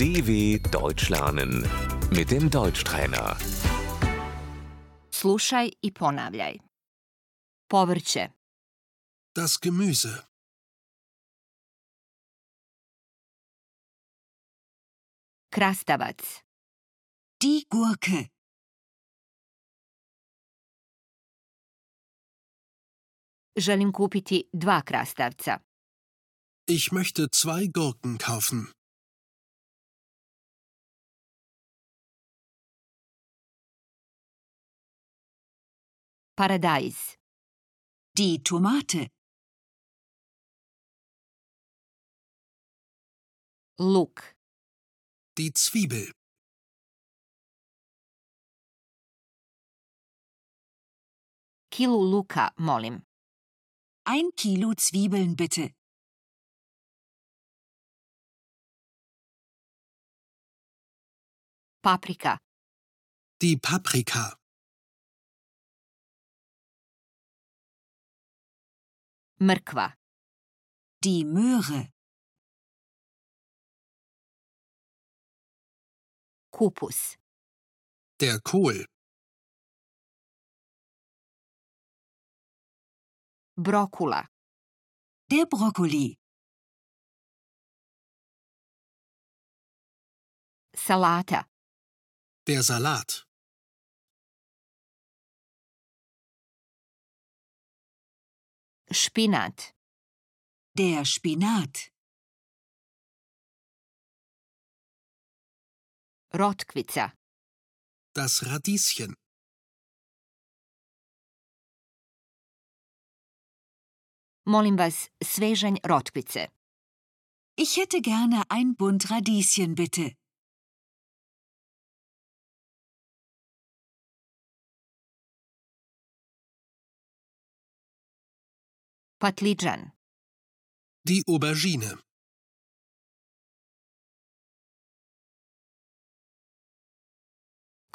DW Deutsch lernen mit dem Deutschtrainer. Slušaj i ponavljaj. Povrće, Das Gemüse. krastavac, Die Gurke. želim kupiti dva krastavca, Ich möchte zwei Gurken kaufen. paradajz, Die Tomate. luk, Die Zwiebel. kilu luka, molim, Ein Kilo Zwiebeln bitte. paprika, Die Paprika. mrkva, Die Möhre. kupus, Der Kohl. brokula, Der Brokkoli. salata, Der Salat. špinat, Der Spinat. rotkvica, Das Radieschen. molim vas svežanj rotkvice, Ich hätte gerne ein Bund Radieschen bitte. patliđan, Die Aubergine.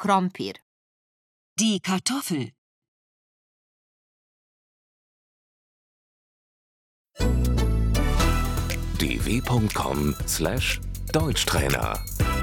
krompir, Die Kartoffel. dw.com/deutschtrainer